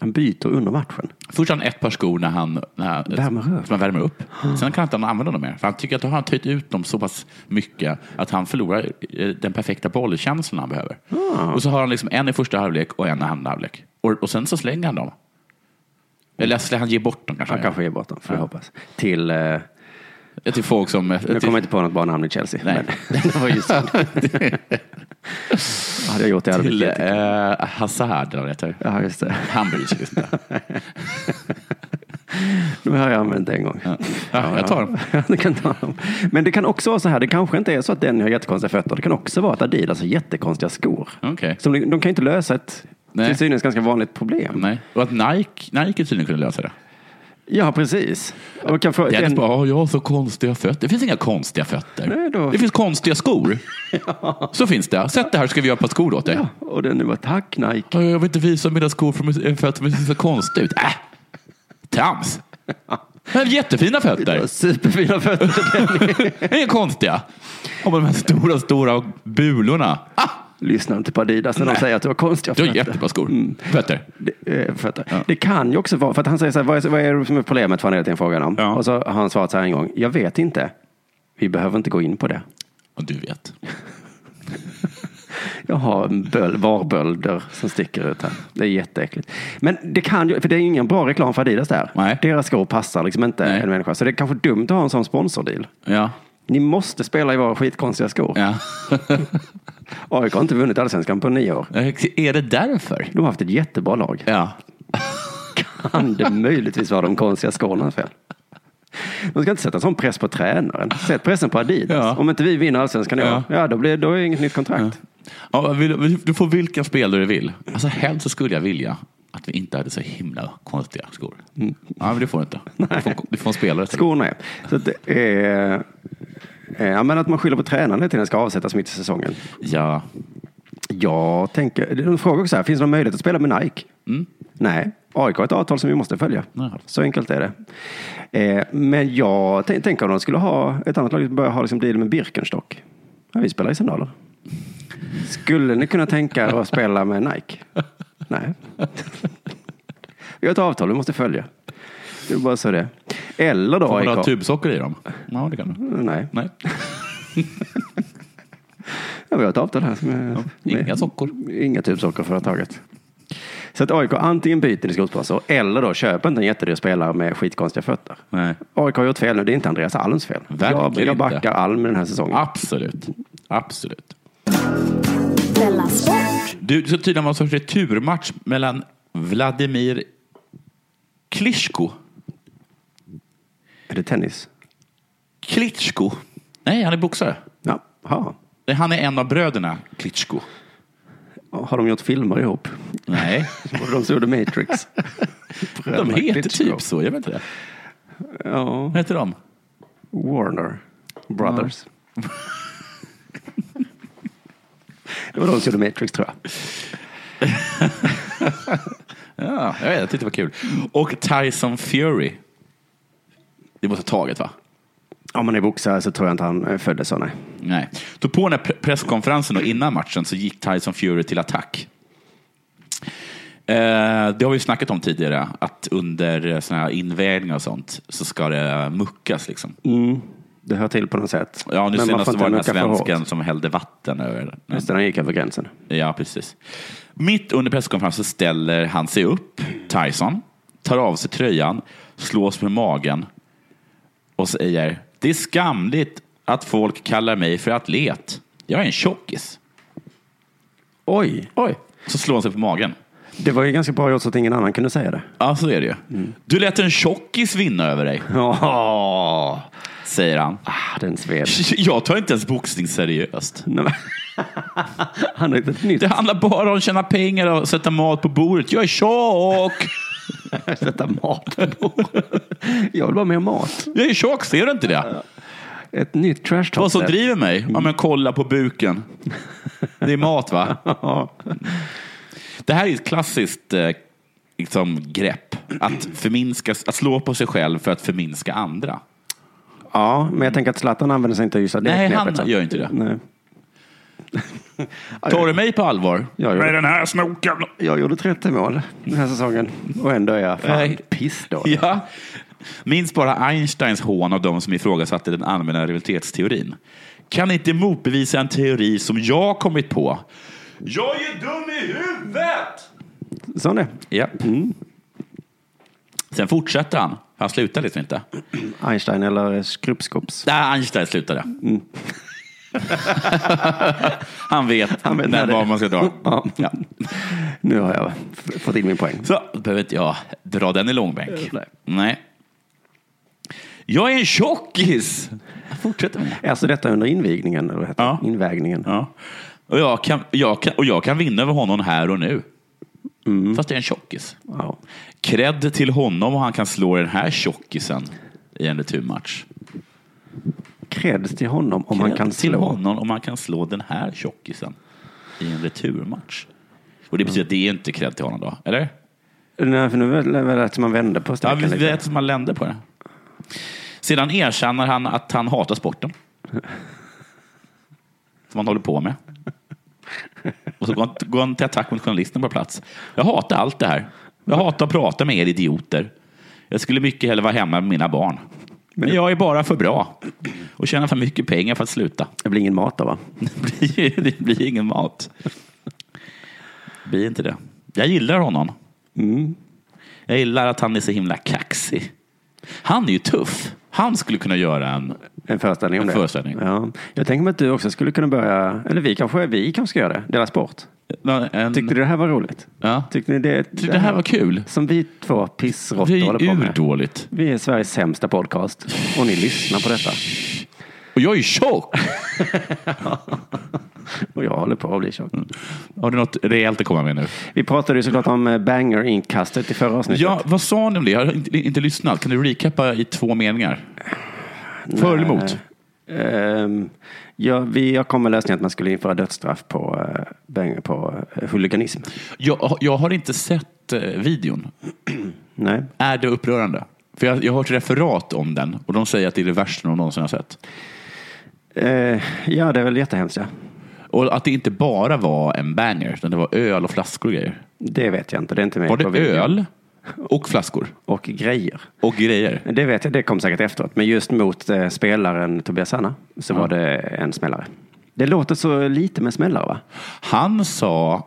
Han byter under matchen. Först har han ett par skor när han, när han Värmer upp. Som han värmer upp. Sen kan inte han använda dem mer. För han tycker att då har han töjt ut dem så pass mycket att han förlorar eh, den perfekta bollkänslan han behöver. Ah. Och så har han liksom en i första halvlek och en i andra halvlek. Och, och sen så slänger han dem. Eller slä- han ger bort dem kanske. Han kanske ger bort dem, får jag Ja. hoppas. Till, eh, Eh, Till folk som... eh, nu till- kommer jag inte på något bra namn i Chelsea. Nej. Men, det var ju synd. Hade jag gjort det hade det blivit till jättekul. eh, Hazard, eller vad det heter. Ja, just det. Han bryr sig liksom inte. Nu har jag använt det en gång. Ja, jag tar dem. Ja, du kan ta dem. Men det kan också vara så här, det kanske inte är så att den har jättekonstiga fötter. Det kan också vara att Adidas har jättekonstiga skor. Okej. Som de, de kan ju inte lösa ett Nej. till synes ganska vanligt problem. Nej. Och att Nike, Nike tydligen kunde lösa det. Ja, precis. Och kan få, Dennis den, bara, "Ja, jag har så konstiga fötter. Det finns inga konstiga fötter. Nej, då- Det finns konstiga skor. Så finns det. Sätt det här så ska vi göra ett par skor åt dig. ja, och den var tack Nike. "Ja, Jag vill inte visa mina skor för min- eh, för att de ser så konstiga ut. Äh, trams. Men jättefina fötter. Superfina fötter. Inga konstiga. Och med de här stora, stora bulorna. Ah, Lyssnar inte på Adidas när de säger att du har konstiga du har fötter. Mm. jättebra skor. Fötter. Det, eh, fötter. det kan ju också vara, för att han säger så här, vad är, vad är det som är problemet? Får han hela tiden frågan om. Ja. Och så har han svarat så här en gång, jag vet inte. Vi behöver inte gå in på det. Och du vet. Jag har en böl, varbölder som sticker ut här. Det är jätteäckligt. Men det kan ju, för det är ju ingen bra reklam för Adidas där. Nej. Deras skor passar liksom inte Nej. en människa. Så det är kanske dumt att ha en sån sponsordeal. Ja. Ni måste spela i våra skitkonstiga skor. Ja. AIK har inte vunnit allsvenskan på nio år. Är det därför? De har haft ett jättebra lag. Ja. Kan det möjligtvis vara de konstiga skornas fel? De ska inte sätta sån press på tränaren. Sätt pressen på Adidas. Ja. Om inte vi vinner allsvenskan i år, Ja. ja. då, blir, då är det inget nytt kontrakt. ja vill, du får vilka spelare du vill. Alltså helst så skulle jag vilja att vi inte hade så himla konstiga skor. Ja, men det får du inte. Du får, du får en spelare till. Skorna är. Så att, det är- eh, ja, men att man skyller på tränaren till den ska avsättas mitt i säsongen. Ja. Jag tänker, de frågar också här, finns det någon möjlighet att spela med Nike? Mm. Nej, AIK har ett avtal som vi måste följa. Ja. Så enkelt är det. Eh, men jag tän- tänker om de skulle ha ett annat lag, börja ha liksom deal med Birkenstock. Ja, vi spelar i sandaler. Skulle ni kunna tänka er att spela med Nike? Nej. Vi har ett avtal vi måste följa. Det är bara så det är. Eller då Får man ha typ- AIK. tubsocker i dem? Mm. Ja, det kan du. Nej, Nej. ja, vi har ett avtal här. Med, Inga med- sockor. Inga tubsockerföretaget. typ Så att AIK antingen byter din skosponsor eller då köper inte en jättedyr spelare med skitkonstiga fötter. Nej. AIK har gjort fel nu, det är inte Andreas Alms fel. Verkligen Jag, jag inte. backar Alm den här säsongen. Absolut. Absolut. Della Sport! Du, så tydligen var det en sorts returmatch mellan Vladimir Klitschko. Är det tennis? Klitschko? Nej, han är boxare. Ja. Ha. Nej, Han är en av bröderna Klitschko. Har de gjort filmer ihop? Nej, Både de som gjorde Matrix. de Bröderna heter Klitschko. typ så. Jag vet inte det. Ja. Vad heter de? Warner Brothers. Det var de som gjorde Matrix tror jag. Ja, jag vet, jag tyckte det var kul. Och Tyson Fury. Det måste ha taget, va? Om man är boxare så tror jag inte han eh, föddes så, nej. Nej. Så på den här pre- presskonferensen och innan matchen så gick Tyson Fury till attack. Eh, det har vi ju snackat om tidigare, att under såna här invägningar och sånt så ska det muckas. Liksom. Det hör till på något sätt. Ja, nu man senast får var det den här inte mucka för hårt. svensken som hällde vatten över Just det, han gick över gränsen. Ja, precis. Mitt under presskonferensen ställer han sig upp, Tyson, tar av sig tröjan, slås med magen och säger Det är skamligt att folk kallar mig för atlet. Jag är en tjockis. Oj! Oj. Så slår han sig på magen. Det var ju ganska bra gjort så att ingen annan kunde säga det. Ja, så är det ju. Du lät en tjockis vinna över dig, Ja, säger han. ah, den sved. Jag tar inte ens boxning seriöst. Nej, men- Han har inte ett nytt Det handlar bara om att tjäna pengar och sätta mat på bordet. Jag är tjock! att sätta mat på. Jag vill bara ha mer mat. Jag är tjock, ser du inte det? Ett nytt trash talk. Vad som driver mig? Ja, men kolla på buken. Det är mat, va? Ja. Det här är ett klassiskt eh, liksom, grepp. Att, förminska, att slå på sig själv för att förminska andra. ja, men jag tänker att Zlatan använder sig inte just av det Nej, knepet. han så. gör inte det. Nej. Tar du mig på allvar? Jag gör Med det. den här snoken! Jag gjorde 30 mål den här säsongen och ändå är jag fan Nej. pissdålig. Ja. Minns bara Einsteins hån av de som ifrågasatte den allmänna relativitetsteorin. Kan inte motbevisa en teori som jag kommit på. Jag är dum i huvudet! Sån är Ja. Sen fortsätter han. Han slutar liksom inte. Einstein eller Skrupskops. Där Einstein slutade. han vet, vet när när det- var man ska dra. Ja. Nu har jag f- fått in min poäng. Så behöver inte jag dra den i långbänk. Nej. Nej. Jag är en tjockis! Jag fortsätter med det. Alltså detta under invigningen, eller vad heter Ja. det? Invägningen. Ja. Och, jag kan, jag kan, och jag kan vinna över honom här och nu. Fast jag är en tjockis. Ja. Kredd till honom och han kan slå den här tjockisen i en returmatch. Kreds till honom om han Kredd kan till slå. honom om han kan slå den här tjockisen i en returmatch. Och det betyder att det är inte kredd till honom då, eller? Nej, för nu var det- var det att man vände på Ja, steken vi lite. vet som man länder på det. Sedan erkänner han att han hatar sporten. Som han håller på med. Och så går han, går han till attack mot journalisten på plats. Jag hatar allt det här. Jag hatar att prata med er idioter. Jag skulle mycket hellre vara hemma med mina barn. Men jag är bara för bra och tjänar för mycket pengar för att sluta. Det blir ingen mat då, va? Det blir, det blir ingen mat. Det blir Mm. inte det. Jag gillar honom. Jag gillar att han är så himla kaxig. Han är ju tuff. Han skulle kunna göra en... En föreställning om En det. föreställning. Ja. Jag tänker mig att du också skulle kunna börja, eller vi kanske, vi kanske ska göra det, dela sport. en Tyckte du det här var roligt? Mm. ja. Tyckte ni det, Tyckte det här var kul. Som vi två pissråttor Det håller är på ju med. urdåligt. Vi är Sveriges sämsta podcast och ni lyssnar på detta. Och jag är ju tjock! Och jag håller på att bli Mm. tjock. Har du något rejält att komma med nu? Vi pratade ju såklart om eh, banger-inkastet i förra avsnittet. Ja, vad sa ni om det? Jag har inte, inte lyssnat. Kan du recappa i två meningar? För eller emot? Ehm, ja, vi, jag kom med lösningen att man skulle införa dödsstraff på, eh, banger, på eh, huliganism. Jag, jag har inte sett eh, videon. Nej. Är det upprörande? För jag, jag har hört referat om den och de säger att det är det värsta de någonsin har sett. Eh, ja, det är väl jättehemskt. Ja. Och att det inte bara var en banger, utan det var öl och flaskor och grejer. Det vet jag inte. Det är inte med Var på det videon. öl och flaskor Och grejer. och grejer? Det vet jag. Det kom säkert efteråt. Men just mot eh, spelaren Tobias Hanna så var det en smällare. Det låter så lite med smällare va? Han sa,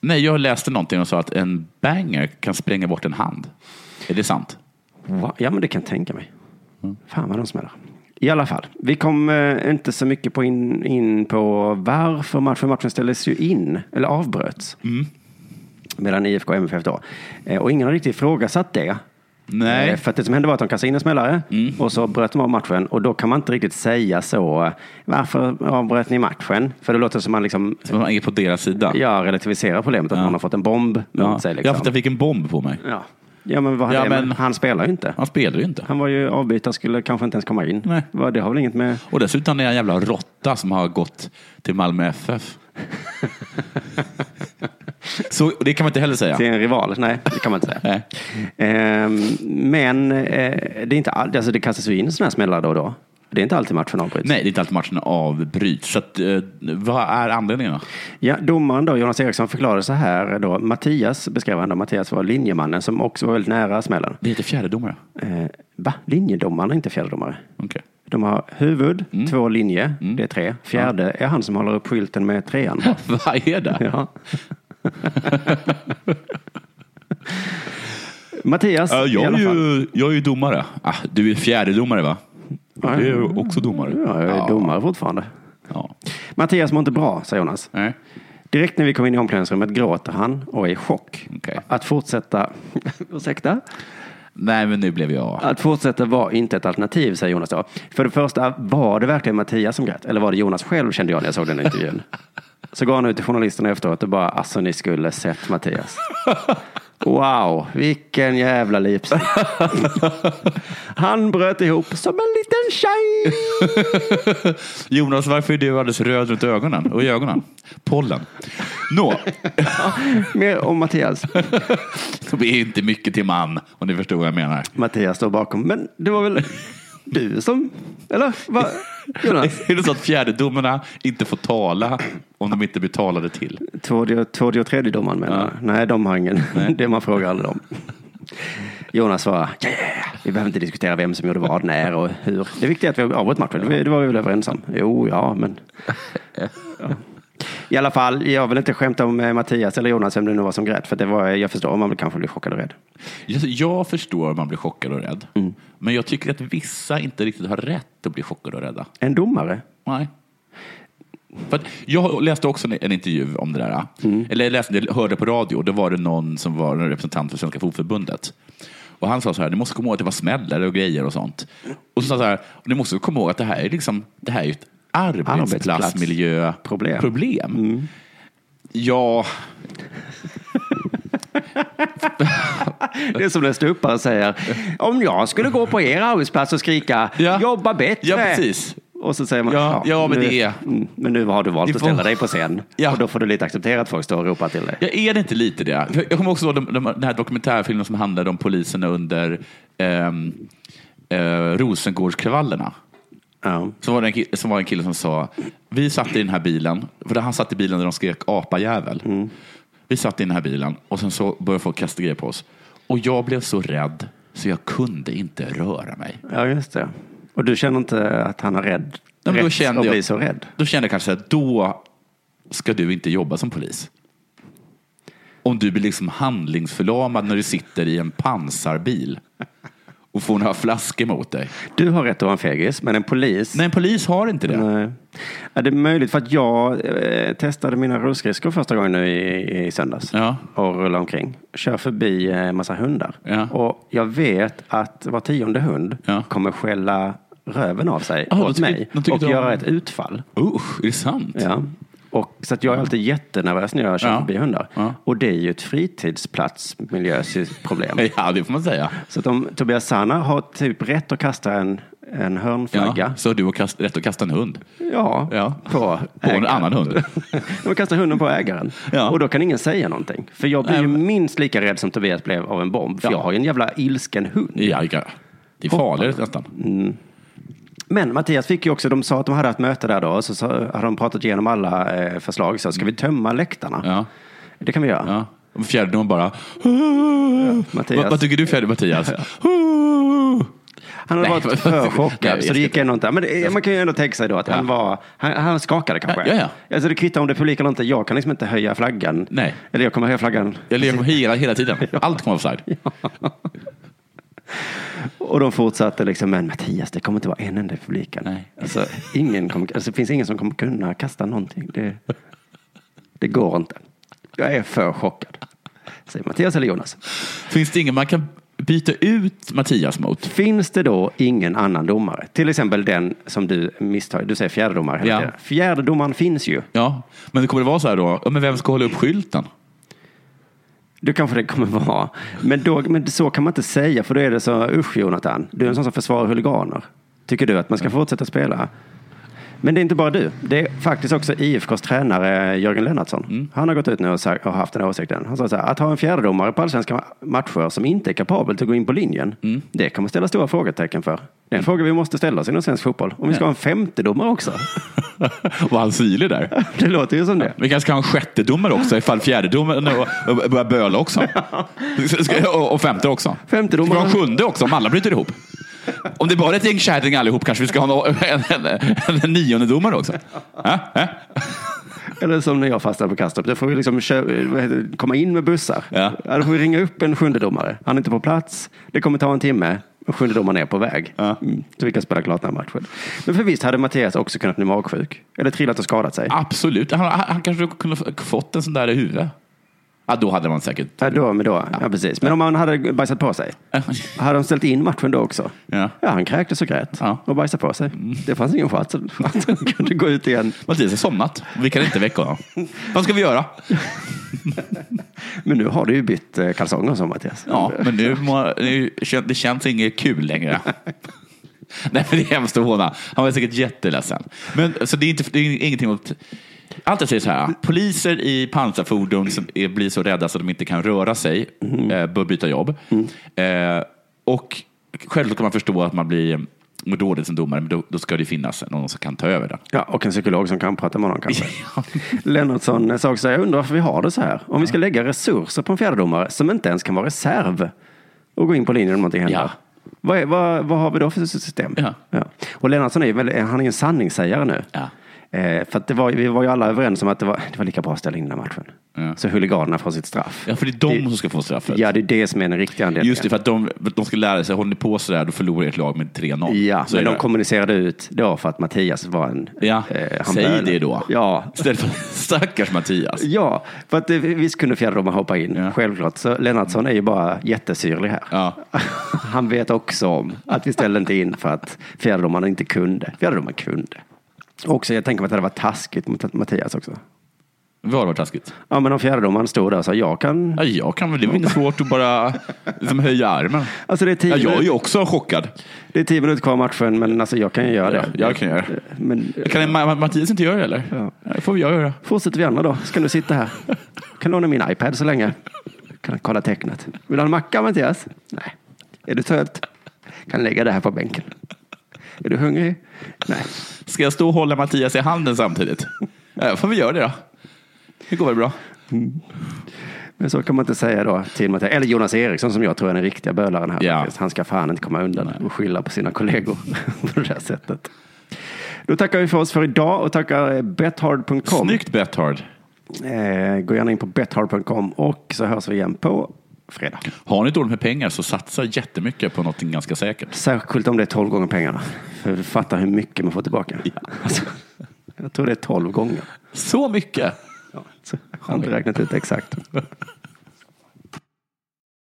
nej jag läste någonting och sa att en banger kan spränga bort en hand. Är det sant? Va? Ja, men det kan jag tänka mig. Mm. Fan vad de smäller. I alla fall, vi kom eh, inte så mycket på in, in på varför matchen, matchen ställdes ju in, eller avbröts. Mm. Mellan IFK och MFF då. Eh, och ingen har riktigt ifrågasatt det. Nej. Mm. Eh, För att det som hände var att de kastade in en smällare och så bröt de av matchen. Och då kan man inte riktigt säga så. eh, Varför avbröt ni matchen? För det låter som man liksom, Så man är på deras sida. ja, relativiserar problemet att någon har fått en bomb mot Ja. sig. Ja, Liksom. för att jag fick en bomb på mig. Ja. ja, men vad hade Ja, det med- men- han spelar ju inte. Han spelar ju inte. Han var ju avbytare, skulle kanske inte ens komma in. Nej. Va, Det har väl inget med... Och dessutom är han en jävla råtta som har gått till Malmö FF. Så och det kan man inte heller säga. Till en rival? Nej, det kan man inte säga. Nej. Ehm, men eh, det, är inte all, alltså det kastas ju in sådana här smällar då och då. Det är inte alltid matchen avbryts. Nej, det är inte alltid matchen avbryts. Så att, eh, vad är anledningen då? Ja, domaren då, Jonas Eriksson, förklarade så här då. Mattias beskrev han då. Mattias var linjemannen som också var väldigt nära smällen. Det heter fjärdedomare. Eh, va? Linjedomaren är inte fjärdedomare? Okej. De har huvud, Mm. två linje, det är tre. Fjärde är han som håller upp skylten med trean. Vad är det? Ja. Mattias, Ja, i jag, alla är fall. ju, jag är ju domare. Ah, du är fjärdedomare va? Ja. Du är ju också domare. Ja, jag är domare fortfarande. Ja. Mattias mår inte bra, säger Jonas. Nej. Direkt när vi kom in i omklädningsrummet gråter han och är i chock. Okej. Att fortsätta, ursäkta? Nej, men nu blev jag... Att fortsätta var inte ett alternativ, säger Jonas då. För det första, var det verkligen Mattias som grät? Eller var det Jonas själv, kände jag när jag såg den här intervjun. Så går han ut till journalisterna efteråt och bara, alltså ni skulle sett Mattias. Wow, vilken jävla lipsyn. Han bröt ihop som en liten tjej. Jonas, varför är du alldeles röd runt ögonen? Och i ögonen? Pollen. Nå, Mer om Mattias. det är inte mycket till man, om ni förstår vad jag menar. Mattias står bakom. Men det var väl du som... Eller? Va? Jonas? Är det så att fjärdedomarna inte får tala om de inte blir talade till? Tvåde två och tredjedomaren menar du? Nej, de har ingen. Det man frågar aldrig om. Jonas svarar, "Ja, ja, ja. vi behöver inte diskutera vem som gjorde vad, när och hur. Det viktiga är att vi har avbrutit matchen. Det var vi väl överens om? Jo, ja, men... Ja. I alla fall, jag vill inte skämta om eh, Mattias eller Jonas, vem det nu var som grät. För det var, jag förstår om man kanske blir chockad och rädd. Jag- Jag förstår att man blir chockad och rädd. Men jag tycker att vissa inte riktigt har rätt att bli chockade och rädda. En domare? Nej. För att jag läste också en- en intervju om det där. Eller jag läste, jag hörde på radio. Då var det någon som var en representant för Svenska Fotförbundet. Och han sa så här, ni måste komma ihåg att det var smällare och grejer och sånt. Och så sa han så här, ni måste komma ihåg att det här är, liksom, det här är ju ett arbetsplatsmiljöproblem. Problem. Problem. Ja, Det är som när ståuppare säger, om jag skulle gå på er arbetsplats och skrika, Ja. jobba bättre. ja precis. Och så säger man, Ja, ja, men nu, det är- mm, Men nu har du valt Det att får- ställa dig på scen. Ja. Och då får du lite acceptera att folk står och ropar till dig. Jag är det inte lite det? För Jag kommer också ihåg de, de, den här dokumentärfilmen som handlade om poliserna under ehm, eh, Rosengårdskravallerna. Ja. Så var det en kille, som var en kille som sa, vi satt i den här bilen, för han satt i bilen där de skrek apajävel. Mm. Vi satt i den här bilen och sen så började folk kasta grejer på oss. Och jag blev så rädd så jag kunde inte röra mig. ja, just det. Och du känner inte att han är rädd? Nej, men då rätt kände att jag- bli så rädd? Då kände jag kanske att då ska du inte jobba som polis. Om du blir liksom handlingsförlamad när du sitter i en pansarbil och får några flaskor mot dig. Du har rätt att vara en fegis, men en polis. Nej, en polis har inte det. Nej. Ja, det är möjligt för att jag eh, testade mina rullskridskor första gången nu i, i söndags. Ja. Och rullade omkring. Kör förbi eh, massa hundar. Ja. Och jag vet att var tionde hund Ja. kommer skälla röven av sig Ah, de åt tycker- mig. de tycker och de- göra ett utfall. Usch, är det sant? Ja. Och, så att jag är alltid jättenervös när jag kör Ja. förbi hundar. Ja. Och det är ju ett fritidsplatsmiljöproblem. Ja, det får man säga. Så att om Tobias Sana har typ rätt att kasta en, en hörnflagga. Ja, så har du och kast, rätt att kasta en hund. Ja, Ja. på, På en ägaren. annan hund. De kastar hunden på ägaren. Ja. Och då kan ingen säga någonting. För jag blir Nej, ju men- minst lika rädd som Tobias blev av en bomb. För Ja. jag har ju en jävla ilsken hund. Ja, ja. det är farligare nästan. Men Mattias fick ju också, de sa att de hade ett möte där då. Och så, så hade de pratat igenom alla eh, förslag. Så ska vi tömma läktarna? Ja. Det kan vi göra. Ja. Och Fjärdedomaren bara... Mattias. Vad, vad tycker du fjärde Mattias? Han hade Nej, varit vad- för Nej, chockad. jag så det gick ska- ändå inte. Men det, man kan ju ändå tänka sig då att han var, han, han skakade kanske. Ja, ja, Alltså det kvittar om det är publik eller inte. Jag kan liksom inte höja flaggan. Nej. Eller jag kommer höja flaggan. Jag lever hela, hela tiden. Allt kommer offside. Och de fortsatte liksom, men Mattias, det kommer inte vara en enda i publiken. Nej. Alltså, ingen kommer, alltså, det finns ingen som kommer kunna kasta någonting. Det, det går inte. Jag är för chockad. Säger Mattias eller Jonas. Finns det ingen man kan byta ut Mattias mot? Finns det då ingen annan domare? Till exempel den som du misstar. Du säger fjärdedomare. hela Ja. tiden. Fjärdedomaren finns ju. Ja, men det kommer det vara så här då? Ja, men vem ska hålla upp skylten? Då kanske det kommer vara. Men, då, men så kan man inte säga, för då är det så, usch Jonathan, du är en sån som försvarar huliganer. Tycker du att man ska fortsätta spela? Men det är inte bara du. Det är faktiskt också IFKs tränare Jörgen Lennartsson. Han har gått ut nu och, sagt, och haft den här åsikten. Han sa så här, att ha en fjärdedomare på allsvenska ma- matcher som inte är kapabel till att gå in på linjen, det kommer ställa stora frågetecken för. Det är en fråga vi måste ställa oss inom svensk fotboll. Om vi ska ha en femtedomare också. Var han syrlig där? Det låter ju som det. Vi kanske ska ha en sjättedomare också ifall fjärdedomaren och- och börjar böla också. Ska- och- Och femte också. Femtedomaren. Ska vi ha en sjunde också om alla bryter ihop? Om det bara är ett gäng kärring allihop kanske vi ska ha en, en, en, en niondedomare också? Äh? Äh? Eller som när jag fastnade på Kastrup, då får vi liksom kö- vad heter det, komma in med bussar. Ja. då får vi ringa upp en sjundedomare. Han är inte på plats, det kommer ta en timme. och Sjundedomaren är på väg. Ja. Mm, så vi kan spela klart den här matchen. Men för visst hade Mattias också kunnat bli magsjuk. Eller trillat och skadat sig. Absolut. Han, han kanske kunde ha fått en sån där i huvudet. Ja, då hade man säkert... Ja, då, men då. Ja, precis. Men om han hade bajsat på sig. Hade de ställt in matchen då också? Ja. han kräktes och grät. Ja. Mm. Och bajsade på sig. Det fanns ingen chans att han kunde gå ut igen. Mattias har somnat. Vi kan inte väcka honom. Vad ska vi göra? Men nu har du ju bytt eh, kalsonger som Mattias. Ja, men nu, må, nu kän- det känns inget kul längre. Nej, men det är hemskt att håna. Han var säkert jätteledsen. Men, så det är, inte, det är ingenting mot... Allt jag säger så här, poliser i pansarfordon som är, blir så rädda så att de inte kan röra sig Mm. eh, bör byta jobb. Eh, och självklart kan man förstå att man blir mår dåligt som domare, men då, då ska det finnas någon som kan ta över det. Ja, och en psykolog som kan prata med honom kanske. Ja. Lennartsson sa också, jag undrar varför vi har det så här. Om vi ska lägga resurser på en fjärdedomare som inte ens kan vara reserv och gå in på linjen om någonting händer. Ja. Vad, är, vad, vad har vi då för system? Ja. Och Lennartsson är ju väldigt, han är ju en sanningssägare nu. Ja. Eh, för att det var, vi var ju alla överens om att det var, det var lika bra att ställa in den här matchen. Ja. Så huliganerna får sitt straff. Ja, för det är de som ska få straffet. Ja, det är det som är den riktiga anledningen. Just det, för att de, de ska lära sig, håller ni på sådär, då förlorar ert lag med 3-0. Ja, så är men de det. kommunicerade ut då för att Mattias var en... Ja, eh, han säg böl. det då. Ja, Istället för stackars Mattias. Ja, för att det, visst kunde fjärdedomaren hoppa in, Ja. självklart. Så Lennartsson är ju bara jättesyrlig här. Ja. Han vet också om att vi ställde inte in för att fjärdedomaren inte kunde. Fjärdedomaren kunde. Också, jag tänker mig att det hade varit taskigt mot Mattias också. Vad har varit taskigt? Ja, men om fjärdedomaren stod där och sa jag kan... Ja, jag kan väl, det är väl inte svårt att bara liksom, höja armen. Alltså det är Ja, tio, jag är ju minuter- också chockad. det är tio minuter kvar av matchen, men alltså jag kan ju göra det. jag kan göra det. Men Kan Ma- Ma- Mattias inte göra det eller? Ja. Det får jag göra. fortsätter vi andra då? Ska du sitta här? Kan låna min iPad så länge? Kan kolla tecknet? Vill du ha en macka Mattias? Nej. Är du trött? Kan lägga det här på bänken. Är du hungrig? Nej. Ska jag stå och hålla Mattias i handen samtidigt? Ja, får vi göra det då. Det går väl bra. Men så kan man inte säga då till Mattias. Eller Jonas Eriksson som jag tror är den riktiga bölaren här. Ja. faktiskt. Han ska fan inte komma undan och skylla på sina kollegor på det där sättet. Då tackar vi för oss för idag och tackar eh, bethard.com. Snyggt Bethard. Eh, gå gärna in på bethard.com och så hörs vi igen på fredag. Har ni dåligt med pengar så satsa jättemycket på någonting ganska säkert. Särskilt om det är 12 gånger pengarna. För du fattar hur mycket man får tillbaka. Alltså, jag tror det är 12 gånger. Så mycket! Ja, så jag har inte räknat ut exakt.